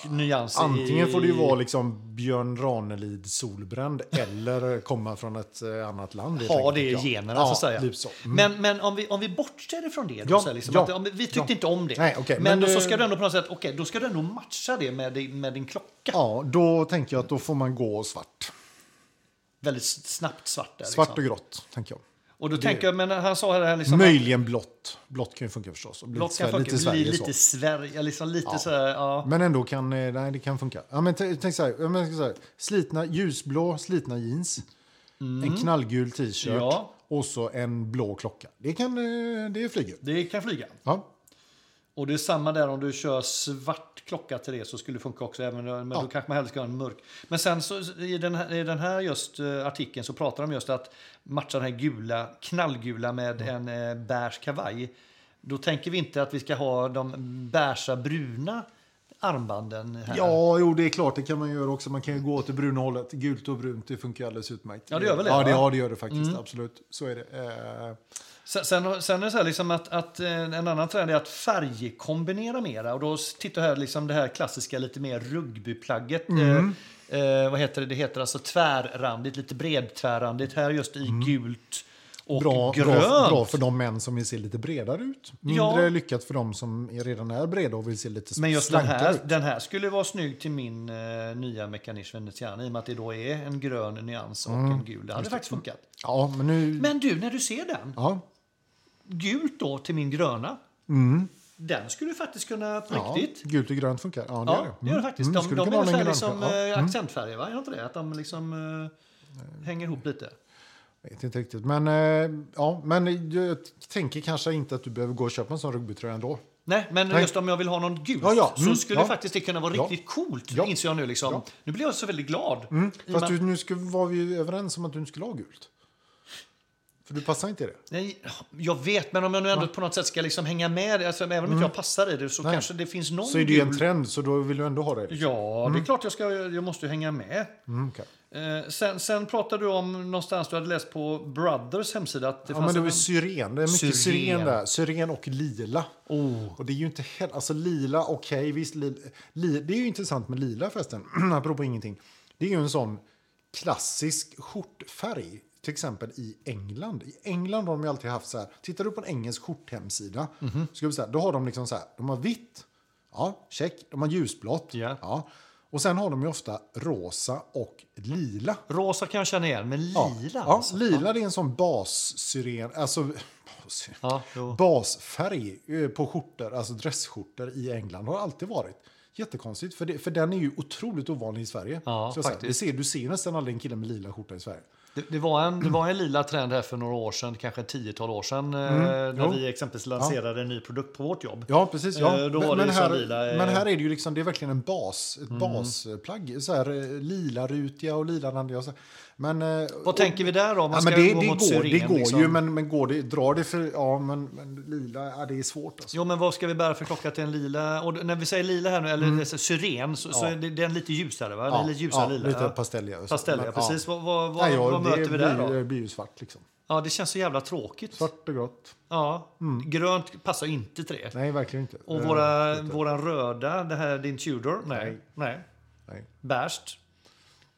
A: nyans i-
B: Antingen får det ju vara liksom Björn Ranelid
A: <laughs>
B: solbränd eller komma från ett eh, annat land. helt
A: ha
B: enkelt,
A: det i
B: tycker jag.
A: generna. så
B: Ja,
A: att säga.
B: Typ så.
A: Men, men om, vi, om vi bortser ifrån det, då,
B: Ja,
A: så här, liksom,
B: ja,
A: att, om, vi tyckte
B: ja.
A: inte om det.
B: Nej, okej,
A: men
B: men eh,
A: då, så
B: det-
A: ska du ändå på något sätt, okej, då ska du ändå matcha det med din, med din klocka.
B: Ja, då tänker jag att då får man gå svart.
A: Väldigt s- snabbt svart. Där,
B: Svart och
A: liksom.
B: grått, tänker jag.
A: Och då tänker jag, men han sa här liksom...
B: Möjligen blått. Blått kan ju funka förstås. Och bli
A: Blått kan
B: Sver-
A: funka.
B: lite Sverige
A: Lite Sverige,
B: så.
A: lite Sverige, liksom lite
B: Ja.
A: så här, ja.
B: Men ändå kan, eh, nej det kan funka. Ja, men t- tänk så här, ja, men så här, slitna, ljusblå slitna jeans, en knallgul t-shirt
A: Mm. Ja.
B: och så en blå klocka. Det kan, eh, det flyger.
A: Det kan flyga.
B: Ja,
A: Och det är samma där om du kör svart klocka till det så skulle det funka också. Även, men
B: Ja.
A: då kanske man hellre ska ha en mörk. Men sen så i den här, i den här just eh, artikeln så pratar de just att matcha den här gula, knallgula med
B: Mm.
A: en eh, beige kavaj. Då tänker vi inte att vi ska ha de beigea bruna armbanden här.
B: ja jo, det är klart, det kan man göra också. Man kan ju gå åt det bruna hållet. Gult och brunt, det funkar ju alldeles utmärkt.
A: Ja, det gör väl det,
B: Ja, det,
A: va? Mm.
B: ja, det gör det faktiskt. Absolut, så är det. Eh,
A: Sen, sen, sen är det så här liksom att, att eh, en annan trend är att färgkombinera mera. Och då s- tittar jag här liksom det här klassiska lite mer rugbyplagget.
B: Mm.
A: Eh, eh, vad heter det? Det heter alltså tvärrandigt, lite bredtvärrandigt. Här just i gult och
B: Mm. bra,
A: grönt.
B: bra, bra för de män som vill se lite bredare ut. Mindre
A: Ja.
B: lyckat för de som är- redan är breda och vill se lite
A: Men just den
B: slankare
A: här,
B: ut.
A: den här skulle vara snygg till min eh, nya Mekanisch Veneziana i och med att det då är en grön nyans och
B: Mm.
A: en gul. Det hade faktiskt funkat.
B: Ja, men nu...
A: Men du, när du ser den,
B: Ja,
A: gult då till min gröna. Den skulle faktiskt kunna på
B: Mm. ja,
A: riktigt.
B: gult och grönt funkar. Ja, det
A: Ja,
B: gör det.
A: det gör det faktiskt.
B: Mm,
A: De,
B: skulle
A: de
B: kunna
A: är
B: ha den
A: ungefär
B: gröna
A: liksom
B: också. Ja. Mm.
A: eh, accentfärger, va? Är det inte det? Att de liksom eh, hänger ihop lite.
B: Vet inte riktigt. Men, eh, ja, men jag tänker kanske inte att du behöver gå och köpa en sån rugbytröja ändå.
A: Nej, men
B: Nej.
A: just om jag vill ha någon gult
B: Ja, ja. Mm,
A: så skulle
B: ja.
A: faktiskt det kunna vara
B: Ja.
A: riktigt coolt,
B: Ja.
A: inser jag nu. Liksom.
B: Ja. Mm.
A: Nu blir jag så väldigt glad. I och
B: Fast
A: med-
B: du, nu ska, var vi ju överens om att du inte skulle ha gult. För du passar inte i det.
A: Nej, jag vet, men om jag nu ändå på något sätt ska liksom hänga med, alltså, även om inte jag passar i det så
B: Mm. Nej.
A: kanske det finns någon
B: Så är det ju en
A: gul-
B: trend, Mm. så då vill du ändå ha det.
A: Ja, det är klart jag, ska, jag måste ju hänga med.
B: Mm, okej.
A: Eh, sen, sen pratade du om någonstans du hade läst på Brothers hemsida att det
B: Ja, men
A: fanns
B: det var ju
A: en-
B: syren. Det är mycket syren,
A: Syren.
B: där. Syren och lila.
A: Oh.
B: Och det är ju inte heller... Alltså lila, okej, visst. Li, li, det är ju intressant med lila förresten, <clears throat> apropå ingenting. Det är ju en sån klassisk skjortfärg. Till exempel i England. I England har de ju alltid haft så här. Tittar du på en engelsk skjorthemsida,
A: Mhm.
B: så ska vi säga, då har de liksom så här. De har vitt, ja, check. De har ljusblått,
A: Ja.
B: ja. Och sen har de ju ofta rosa och lila.
A: Rosa kan jag känna igen, men lila?
B: Ja, ja,
A: alltså.
B: lila det är en sån bassyren, alltså bassyren.
A: Ja, jo.
B: basfärg eh, på skjortor, alltså dressskjortor i England har alltid varit. Jättekonstigt, för, det, för den är ju otroligt ovanlig i Sverige.
A: Ja,
B: Så jag säger,
A: faktiskt.
B: du, ser, du ser nästan aldrig en kille med lila skjorta i Sverige.
A: Det, det, var en, det var en lila trend här för några år sedan, kanske ett tiotal år sedan, eh, när
B: Mm. jo.
A: vi exempelvis lanserade en ny produkt på vårt jobb.
B: Ja, precis. Ja.
A: Eh, då var det
B: men,
A: ju
B: här,
A: sån lila, eh. Mm.
B: men här är det ju liksom, det är verkligen en bas, ett basplagg. Så här, eh, lila rutiga och lila randiga. och så. Men, eh,
A: Vad tänker vi där då? Om man
B: Ja,
A: ska
B: men det,
A: gå
B: det,
A: mot
B: går,
A: syren,
B: det går
A: liksom?
B: ju, men, men går det, drar det för... Ja, men, men lila, ja, det är svårt. Alltså.
A: Jo, men vad ska vi bära för klocka till en lila? Och när vi säger lila här nu, eller mm. syren, så, så är det, den lite ljusare va? Ja, lite ljusare lila.
B: Lite
A: ja.
B: pastelliga. och så.
A: Pastelliga,
B: Men,
A: precis. Vad, vad, vad,
B: Nej, ja,
A: vad
B: det
A: möter vi där
B: blir,
A: då?
B: Det blir ju svart liksom.
A: Ja, det känns så jävla tråkigt.
B: Svart och grått.
A: Ja. Grönt passar ju inte till det.
B: Nej, verkligen inte.
A: Och
B: Eh,
A: våra, våran röda, det här din Tudor, nej. nej.
B: Nej.
A: Bärst.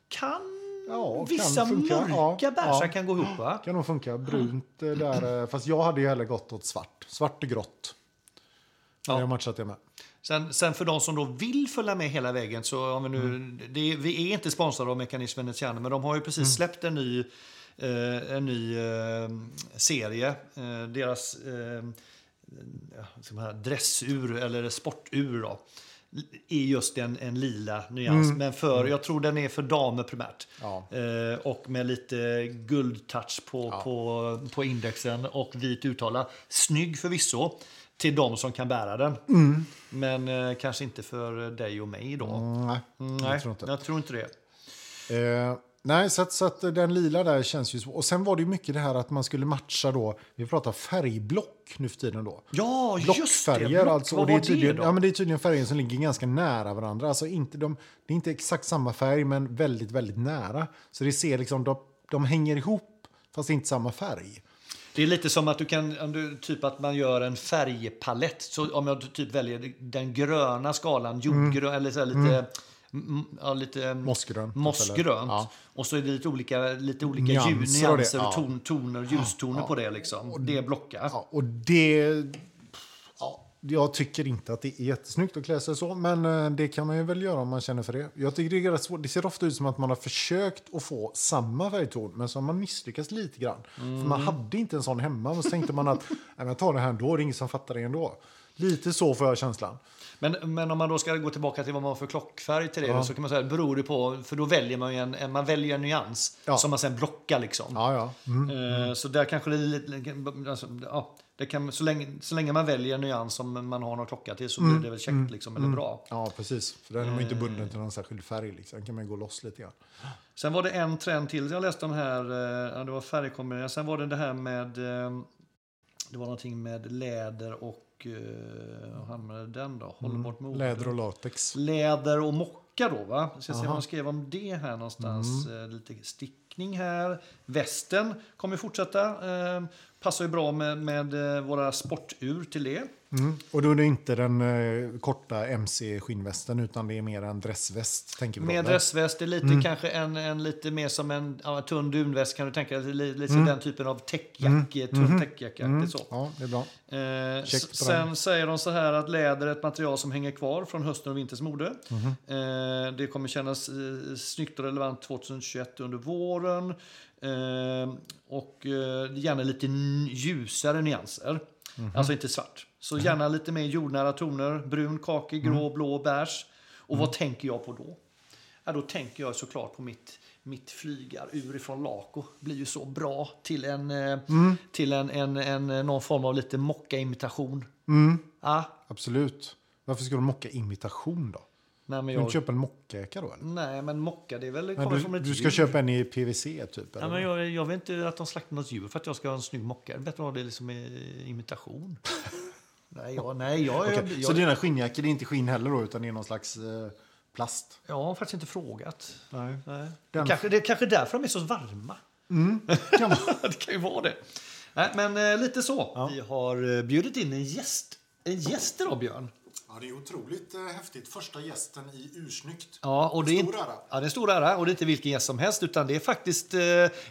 A: Kan
B: Ja,
A: vissa
B: kan funka.
A: mörka
B: Ja,
A: bärsar
B: ja.
A: kan gå ihop va?
B: Kan nog funka. Brunt eh, där. eh, Fast jag hade ju hellre gått åt svart. Svart och grått.
A: Ja.
B: Jag har matchat det med.
A: Sen, sen för de som då vill följa med hela vägen så om vi nu, det, vi är inte sponsrade av Mekanism Veneziano men de har ju precis släppt en ny, eh, en ny eh, serie. Eh, deras eh, ja, som här dressur eller sportur då, är just en, en lila nyans. Men för, jag tror den är för damer primärt.
B: Ja.
A: Eh, och med lite guldtouch på, på, på indexen och vit uttala. Snygg förvisso till de som kan bära den. Men eh, kanske inte för dig och mig då.
B: Mm, Nej,
A: Nej,
B: jag tror inte.
A: jag tror inte det.
B: Eh, nej, så, att, så att den lila där känns ju svår. Och sen var det ju mycket det här att man skulle matcha då. Vi pratar färgblock nu för tiden då.
A: Ja, just det!
B: Blockfärger
A: Block,
B: alltså.
A: Vad
B: Och det, är
A: var det
B: tydligen,
A: då?
B: ja, men det är tydligen färger som ligger ganska nära varandra. Alltså inte de, det är inte exakt samma färg, men väldigt, väldigt nära. Så det ser liksom, de, de hänger ihop, fast det är inte samma färg.
A: Det är lite som att du kan, om du, typ att man gör en färgpalett. Så om jag typ väljer den gröna skalan, jordgrön eller så här lite, mm. ja, lite
B: Mossgrönt, typ, eller-
A: mossgrönt.
B: ja.
A: Och så är det lite olika, lite olika
B: Nyanser
A: ljud,
B: och det,
A: nyanser och
B: ja.
A: ton, toner, ljustoner på det. Liksom. Det blockar.
B: Ja, och det... Ja, Jag tycker inte att det är jättesnyggt att klä sig så, men eh, det kan man ju väl göra om man känner för det. Jag tycker det är rätt svårt. Det ser ofta ut som att man har försökt att få samma färgton, men så har man misslyckats lite grann. För man hade inte en sån hemma, och så tänkte man att Nej, men jag tar det här ändå, det är ingen som fattar det ändå. Lite så får jag känslan.
A: Men, men om man då ska gå tillbaka till vad man har för klockfärg till det
B: Ja.
A: så kan man säga beror det på, för då väljer man ju en, en, man väljer en nyans
B: Ja.
A: som man sen blockar liksom.
B: Ja, ja. Mm.
A: Eh, Så där kanske det är lite, alltså, ja, det kan, så, länge, så länge man väljer en nyans som man har någon klocka till så
B: Mm.
A: blir det väl käckt liksom, eller bra.
B: Ja, precis. För den är man ju inte bunden till någon särskild färg. Liksom. Den kan man ju gå loss lite grann.
A: Sen var det en trend till jag läste om här, eh, ja, det var färgkombineringar. Sen var det det här med, eh, det var någonting med läder och, eh, vad hamnade den då? Hållbart mode.
B: Mm. Läder och latex.
A: läder och mocka då va? Jag ska se
B: Aha.
A: vad de skrev om det här någonstans. Eh, Lite stickning här. Västen kommer fortsätta. Eh, passar ju bra med, med eh, våra sportur till det.
B: Mm. Och då är det inte den eh, korta mc-skinnvästen utan det är mer en dressväst. Tänker vi då,
A: Med Mm.
B: eller?
A: dressväst, det är lite kanske en, en lite mer som en ja, tunn dunväst kan du tänka dig. Lite, lite den typen av täckjacke, tunn täckjacka. Det är så.
B: Ja, det är bra.
A: Eh,
B: Check
A: s-
B: på den.
A: sen säger de så här att läder är ett material som hänger kvar från hösten och vinterns mode.
B: Mhm.
A: Eh, det kommer kännas eh, snyggt och relevant 2021 under våren. Eh, och eh, gärna lite n- ljusare nyanser.
B: Mhm.
A: Alltså inte svart. Så gärna lite mer jordnära toner. Brun, kaki, grå,
B: Mhm.
A: blå, beige. Och vad tänker jag på då? Ja, då tänker jag såklart på mitt, mitt flygarur ifrån Laco. blir ju så bra till en, eh,
B: Mm.
A: till en, en, en eh, någon form av lite mocka-imitation.
B: Mm.
A: Ja,
B: Absolut. Varför ska du mocka imitation då?
A: nej, men
B: Du
A: jag,
B: inte köpa en mockjacka då? Eller?
A: nej, men mocka det är väl, kommer
B: Men
A: från
B: du,
A: ett
B: du ska
A: djur.
B: köpa en i PVC typ?
A: Ja,
B: Eller?
A: men jag, jag vill inte att de slaktar något djur för att jag ska ha en snygg mocka. Det är bättre att ha det liksom i
B: <laughs>
A: imitation. nej, jag, nej, jag, jag,
B: Okej,
A: jag,
B: Så dina skinnjackor det är inte skinn heller då utan det är någon slags eh, plast?
A: jag har faktiskt inte frågat.
B: Nej.
A: Nej.
B: Den-
A: Kanske, det är kanske därför de är så varma.
B: Kan man...
A: <laughs> det Mm. kan ju vara det. Nej, men eh, lite så. Vi har eh, bjudit in en gäst. En gäst idag, Björn.
B: ja, det är otroligt eh, häftigt. Första gästen i ursnyggt.
A: Ja, och det är,
B: Stor
A: inte-
B: ära.
A: Ja, det är en stor ära. Och det är inte vilken gäst som helst, utan det är faktiskt eh,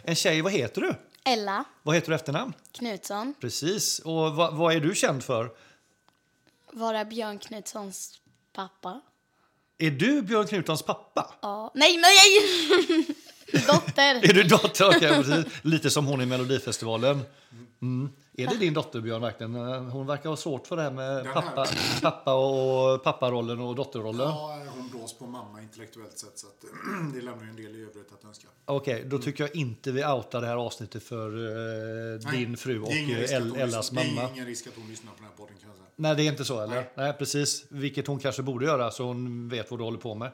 A: en tjej. Vad heter du?
C: Ella
A: Vad heter du i efternamn?
C: Knutsson,
A: Precis. Och vad, vad är du känd för?
C: vara Björn Knutssons pappa.
A: Är du Björn Knutssons pappa?
C: Ja. Nej, nej! <laughs> Dotter.
A: Är du dotter? Okej, precis. Lite som hon i Melodifestivalen. Mm. Är det din dotter, Björn? Verkligen? Hon verkar ha svårt för det här med
B: här.
A: pappa, pappa och papparollen och dotterrollen.
B: Ja, eh, hon blås på mamma intellektuellt sett så att, <clears throat> det lämnar ju en del i övrigt att önska.
A: Okej, då tycker jag inte vi outar det här avsnittet för eh, din fru och eh, El- Ellas mamma.
B: ingen risk att hon lyssnar på den här podden kan jag säga.
A: Nej, det är inte så eller? Nej.
B: Nej.
A: precis. Vilket hon kanske borde göra så hon vet vad du håller på med.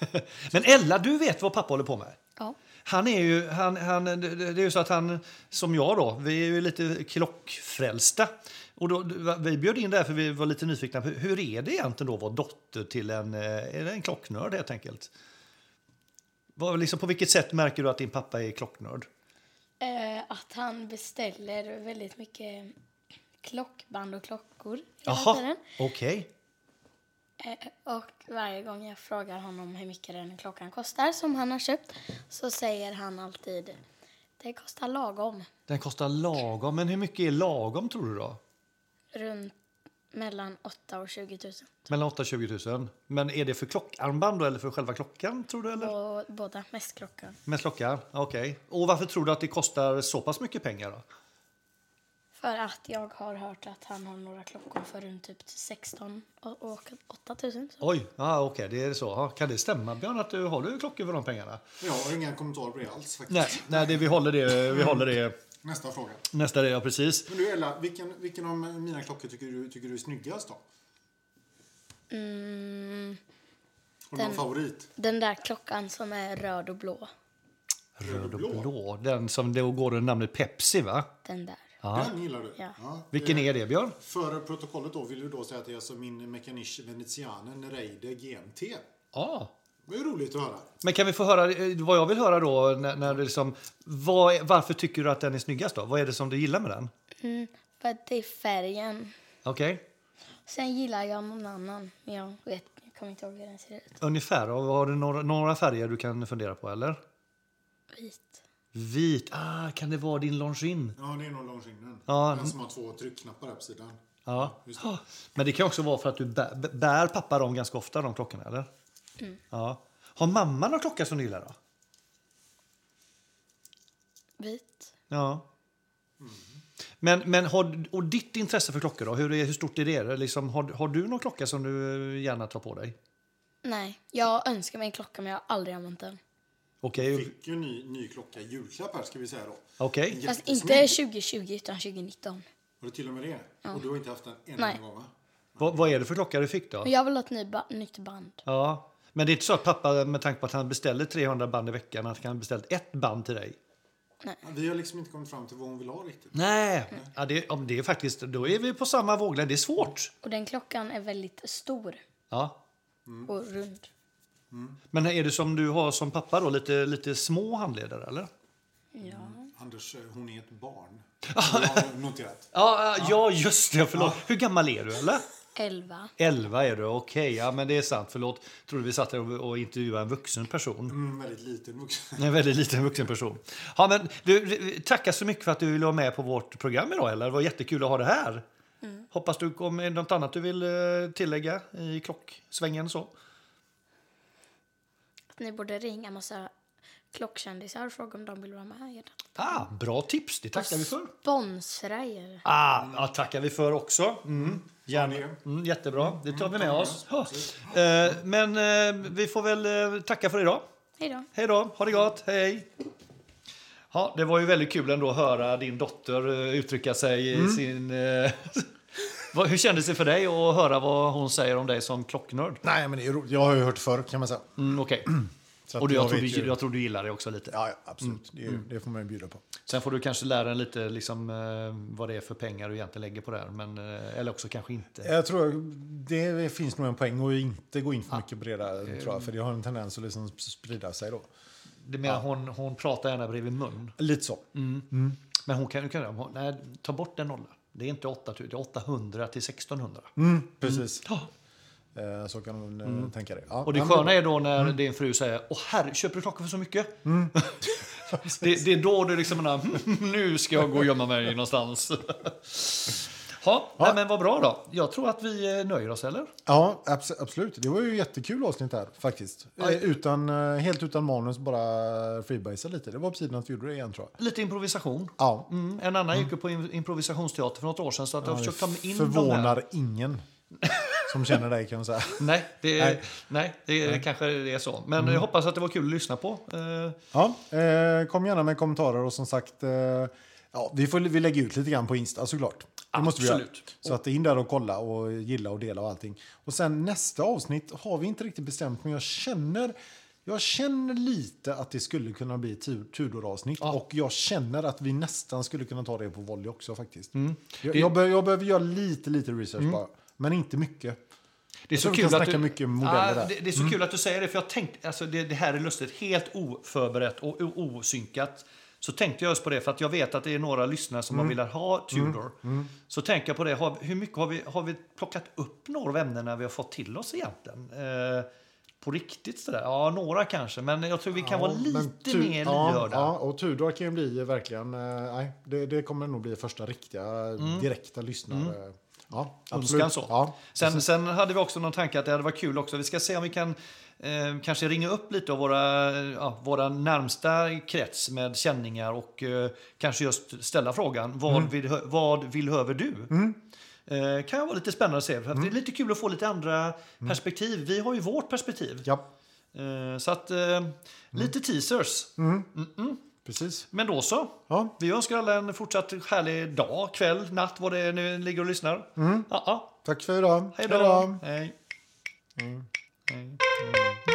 A: <laughs> Men Ella, du vet vad pappa håller på med?
C: Ja.
A: Han är ju, han, han, det det är ju så att han, som jag då, vi är ju lite klockfrälsta. Och då, vi bjöd in där för vi var lite nyfikna. på Hur, hur är det egentligen då att vara dotter till en, eh, är det en klocknörd helt enkelt? Vad, liksom, på vilket sätt märker du att din pappa är klocknörd?
C: Eh, att han beställer väldigt mycket klockband och klockor hela
A: Jaha,
C: tiden.
A: okej.
C: Eh, och varje gång jag frågar honom hur mycket den klockan kostar som han har köpt så säger han alltid det kostar lagom.
A: Den kostar lagom, men hur mycket är lagom tror du då?
C: Runt mellan 8 000 och 20 000.
A: Mellan 8 och 20 000. Men är det för klockarmband då, eller för själva klockan? tror du? Eller?
C: Och båda, mest klockan.
A: Med klockan? Okej. Och varför tror du att det kostar så pass mycket pengar? då?
C: För att jag har hört att han har några klockor för runt typ 16 och, och 8 000. Så.
A: Oj, ah, okej, det är så. Ja, kan det stämma Björn att du har du klockor för de pengarna?
B: Jag har inga kommentarer på det alls faktiskt.
A: Nej, nej det, vi håller det. Vi håller det.
B: Nästa fråga.
A: Nästa det, ja precis.
B: Men du Ella, vilken, vilken av mina klockor tycker du, tycker du är snyggast då?
C: Mm,
B: Har du någon
C: Den-
B: favorit?
C: den där klockan som är röd och blå,
A: Röd och blå. Den som då går under namnet Pepsi va?
C: den där.
B: Den gillar du?
C: Ja.
A: Vilken
B: Eh,
A: är det Björn?
B: Före protokollet då vill du då säga att det är alltså min Mechanisch Venezianen Reide GMT.
A: Ja. Ah.
B: Det är roligt att höra.
A: Men kan vi få höra eh, vad jag vill höra då? När, när det liksom, vad, är- varför tycker du att den är snyggast då? Vad är det som du gillar med den?
C: Mm, för att det är färgen.
A: Okej.
C: Sen gillar jag någon annan, men jag vet jag kommer inte ihåg hur den ser ut.
A: Ungefär. Och har du några, några färger du kan fundera på? eller?
C: Vit.
A: Vit. Ah, kan det vara din Longines?
B: Ja, det är nog Longines.
A: Ja.
B: Den som har två tryckknappar här på sidan.
A: Ja.
D: just
A: Ah, Men det kan också vara för att du bär, bär pappa dem ganska ofta, de klockorna, eller? Ja. Har mamma någon klocka som du gillar då?
C: Vit.
A: Ja. Men, men har, och ditt intresse för klockor då? Hur, är, hur stort är det? Liksom, har, har du någon klocka som du gärna tar på dig?
C: Nej, jag önskar mig en klocka men jag har aldrig använt den.
A: Okej,
D: Fick ju en ny, ny klocka i julklapp här ska vi säga då.
A: okej.
D: En
C: Fast
D: jättesnygg.
C: inte 2020 utan 2019.
D: Var det till och med det? Och du har inte haft den en
C: Nej.
D: enda gång va?
A: Vad- vad är det för klocka du fick då?
C: Men jag vill ha ett ny ba- nytt band.
A: Ja. Men det är inte så att pappa, med tanke på att han beställer 300 band i veckan, att han beställt ett band till dig?
D: Vi har liksom inte kommit fram till vad hon vill ha riktigt.
A: Nej. Ja, det, om det är faktiskt, då är vi på samma våglängd. Det är svårt.
C: Och den klockan är väldigt stor
A: Ja.
C: och rund.
A: Men är det som du har som pappa då, lite, lite små handledare eller?
C: Ja.
D: Anders, eh, hon är ett
B: <laughs>
D: barn. Det har jag noterat.
A: Ja, ja, ja just det. Förlåt. Hur gammal är du eller?
C: 11.
A: 11 är du, okej. ja, men det är sant. Förlåt. Trodde vi satt här och, och intervjuade en vuxen person.
D: Mm, väldigt liten vuxen.
A: En väldigt liten vuxen person. Ja, men du, du, tackar så mycket för att du ville vara med på vårt program idag. Eller? Det var jättekul att ha det här. Hoppas du kommer något annat du vill eh, tillägga i klocksvängen så.
C: Att ni borde ringa massa klockkändisar och fråga om de vill vara med i den.
A: Ah, bra tips, det tackar vi för.
C: Sponsra er.
A: Ah, ja, tackar vi för också. Mm. Gärna.
D: Ja,
A: Mm, jättebra, det tar vi med oss. Ja. Eh, Men eh, vi får väl eh, tacka för idag.
C: Hej då.
A: Hej då, ha det gott, hej. Ja, det var ju väldigt kul ändå att höra din dotter eh, uttrycka sig i sin... eh, <laughs> Vad- Hur kändes det för dig att höra vad hon säger om dig som klocknörd?
B: Nej, men det är roligt. Jag har ju hört förr kan man säga.
A: Mm, Okej.
B: Så att
A: Och du, jag,
B: vet
A: tror
B: ju-
A: du, jag tror du gillar det också lite.
B: Ja, ja,
A: Mm.
B: absolut. Det, är ju- det får man ju bjuda på.
A: Sen får du kanske lära dig lite liksom, eh, vad det är för pengar du egentligen lägger på det här. Men, eh, eller också kanske inte.
B: Jag tror det finns nog en poäng att inte gå in för mycket på det där,
A: Eh,
B: tror jag. För det har en tendens att liksom sprida sig då.
A: Det menar, hon, hon pratar gärna bredvid mun.
B: Lite så.
A: Men hon kan ju kan, hon, nej, ta bort en nolla. Det är inte 8000, det är 800 till 1600.
B: Mm, precis.
A: Ja.
B: Eh, Så kan hon eh, tänka det. Ja,
A: Mm. Och det
B: men-
A: sköna är då när din fru säger Åh herre, köper du klockor för så mycket? <laughs> det, det är då du liksom menar, "Hmm, nu ska jag gå och gömma mig någonstans. <laughs> ja, Nej, men vad bra då. Jag tror att vi eh, nöjer oss, eller?
B: Ja, abs- absolut. Det var ju jättekul avsnitt här faktiskt. Eh, Utan, eh, helt utan manus, bara freebasea lite. Det var på tiden att vi gjorde det igen tror jag.
A: Lite improvisation.
B: Ja.
A: Mm. En annan gick ju på im- improvisationsteater för något år sedan så att jag har
B: Det
A: försökt ta mig in de här.
B: mm. förvånar ingen som känner dig kan jag säga.
A: Nej, det, nej.
B: Nej.
A: nej, det kanske det är så. Men jag hoppas att det var kul att lyssna på. Eh,
B: Ja, eh, kom gärna med kommentarer och som sagt, eh, ja, vi, får, vi lägger ut lite grann på Insta såklart. Det måste vi göra.
A: Absolut.
B: Så att in där och kolla och gilla och dela och allting. Och sen nästa avsnitt har vi inte riktigt bestämt men jag känner jag känner lite att det skulle kunna bli ett Tud- Tudor-avsnitt och jag känner att vi nästan skulle kunna ta det på volley också faktiskt. Jag, jag, be- jag behöver göra lite, lite research bara, men inte mycket.
A: Det är
B: Jag tror vi kan snacka mycket modeller
A: Ja,
B: där. Mm.
A: det, det är så kul att du säger det, för jag tänkte, alltså det, det här är lustigt, helt oförberett och o- osynkat. Så tänkte jag just på det, för att jag vet att det är några lyssnare
B: Mm.
A: som har velat ha Tudor. Så tänker jag på det, har, hur mycket har vi, har vi plockat upp några av ämnena vi har fått till oss egentligen? Eh, på riktigt sådär? Ja, några kanske, men jag tror vi kan vara
B: men
A: lite
B: tu-
A: mer
B: ja,
A: lyhörda.
B: ja, och Tudor kan ju bli verkligen... eh, Nej, det, det kommer nog bli första riktiga direkta lyssnare. Ja, absolut.
A: Mm. önskan. Så.
B: Ja,
A: sen, sen hade vi också någon tanke att det hade varit kul också. Vi ska se om vi kan eh, kanske ringa upp lite av våra, ja, våra närmsta krets med känningar och eh, kanske just ställa frågan vad, vill, hö- vad vill höver du? Eh, kan ju vara lite spännande att se. För att Det är lite kul att få lite andra perspektiv. Vi har ju vårt perspektiv.
B: ja,
A: Eh, så att, eh, lite teasers.
B: precis.
A: Men då så.
B: Ja.
A: Vi önskar alla en fortsatt härlig dag, kväll, natt, vad det är nu ligger och lyssnar. Ja, ja.
B: Tack för idag.
A: Hej då! Hej. Hej.